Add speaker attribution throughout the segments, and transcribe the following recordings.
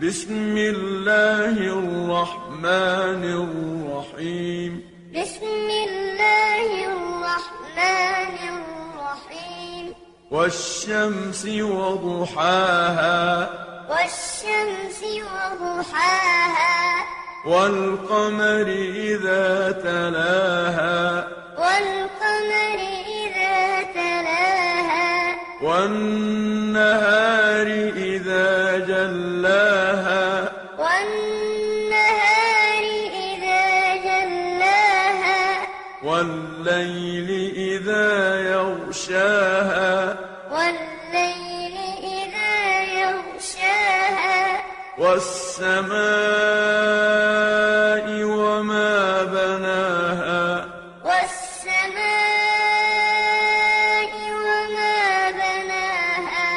Speaker 1: بسم الله الرحمن الرحيم
Speaker 2: بسم الله الرحمن الرحيم
Speaker 1: والشمس وضحاها
Speaker 2: والشمس وضحاها
Speaker 1: والقمر إذا تلاها
Speaker 2: والقمر إذا تلاها
Speaker 1: والنهار إذا جلاها
Speaker 2: والنهار إذا جلاها
Speaker 1: والليل إذا يغشاها
Speaker 2: والليل إذا يغشاها
Speaker 1: والسماء وما بناها
Speaker 2: والسماء وما بناها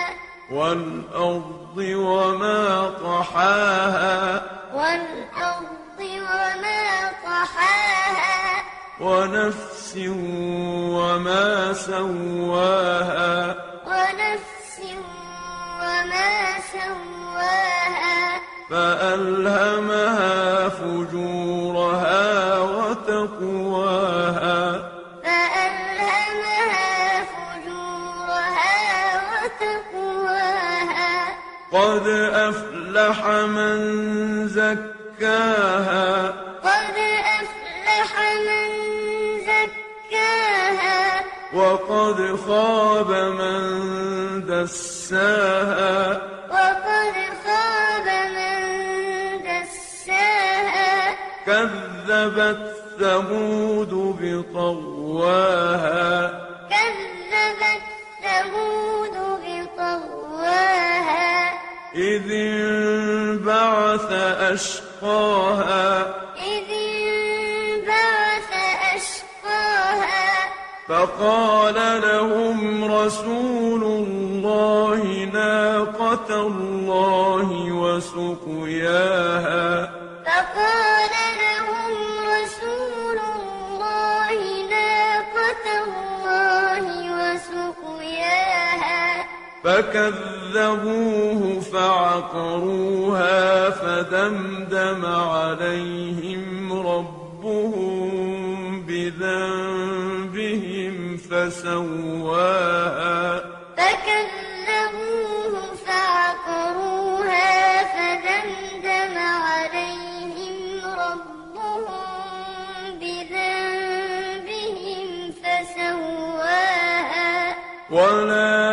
Speaker 1: والأرض وما طحاها
Speaker 2: والأرض وما طحاها
Speaker 1: ونفس وما سواها
Speaker 2: ونفس وما سواها فألهمها
Speaker 1: فجورها وتقواها
Speaker 2: فألهمها فجورها وتقواها
Speaker 1: قد أفلح من زكاها
Speaker 2: قد أفلح من زكاها
Speaker 1: وقد خاب من دساها
Speaker 2: وقد خاب من دساها
Speaker 1: كذبت ثمود بطغواها
Speaker 2: كذبت ثمود بطغواها
Speaker 1: إذ انبعث أشقاها
Speaker 2: إذ انبعث أشقاها
Speaker 1: فقال لهم رسول الله ناقة الله وسقياها
Speaker 2: فقال لهم رسول الله ناقة الله وسقياها
Speaker 1: فكذبوه فعقروها فدمدم عليهم ربهم بذنبهم فسواها
Speaker 2: فكذبوه فعقروها فدمدم عليهم ربهم بذنبهم فسواها
Speaker 1: ولا